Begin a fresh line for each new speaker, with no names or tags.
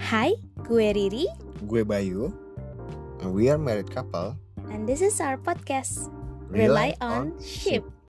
Hai, gue Riri
Gue Bayu. And we are married couple.
and this is our podcast.
Rely
Rely on
on
Ship.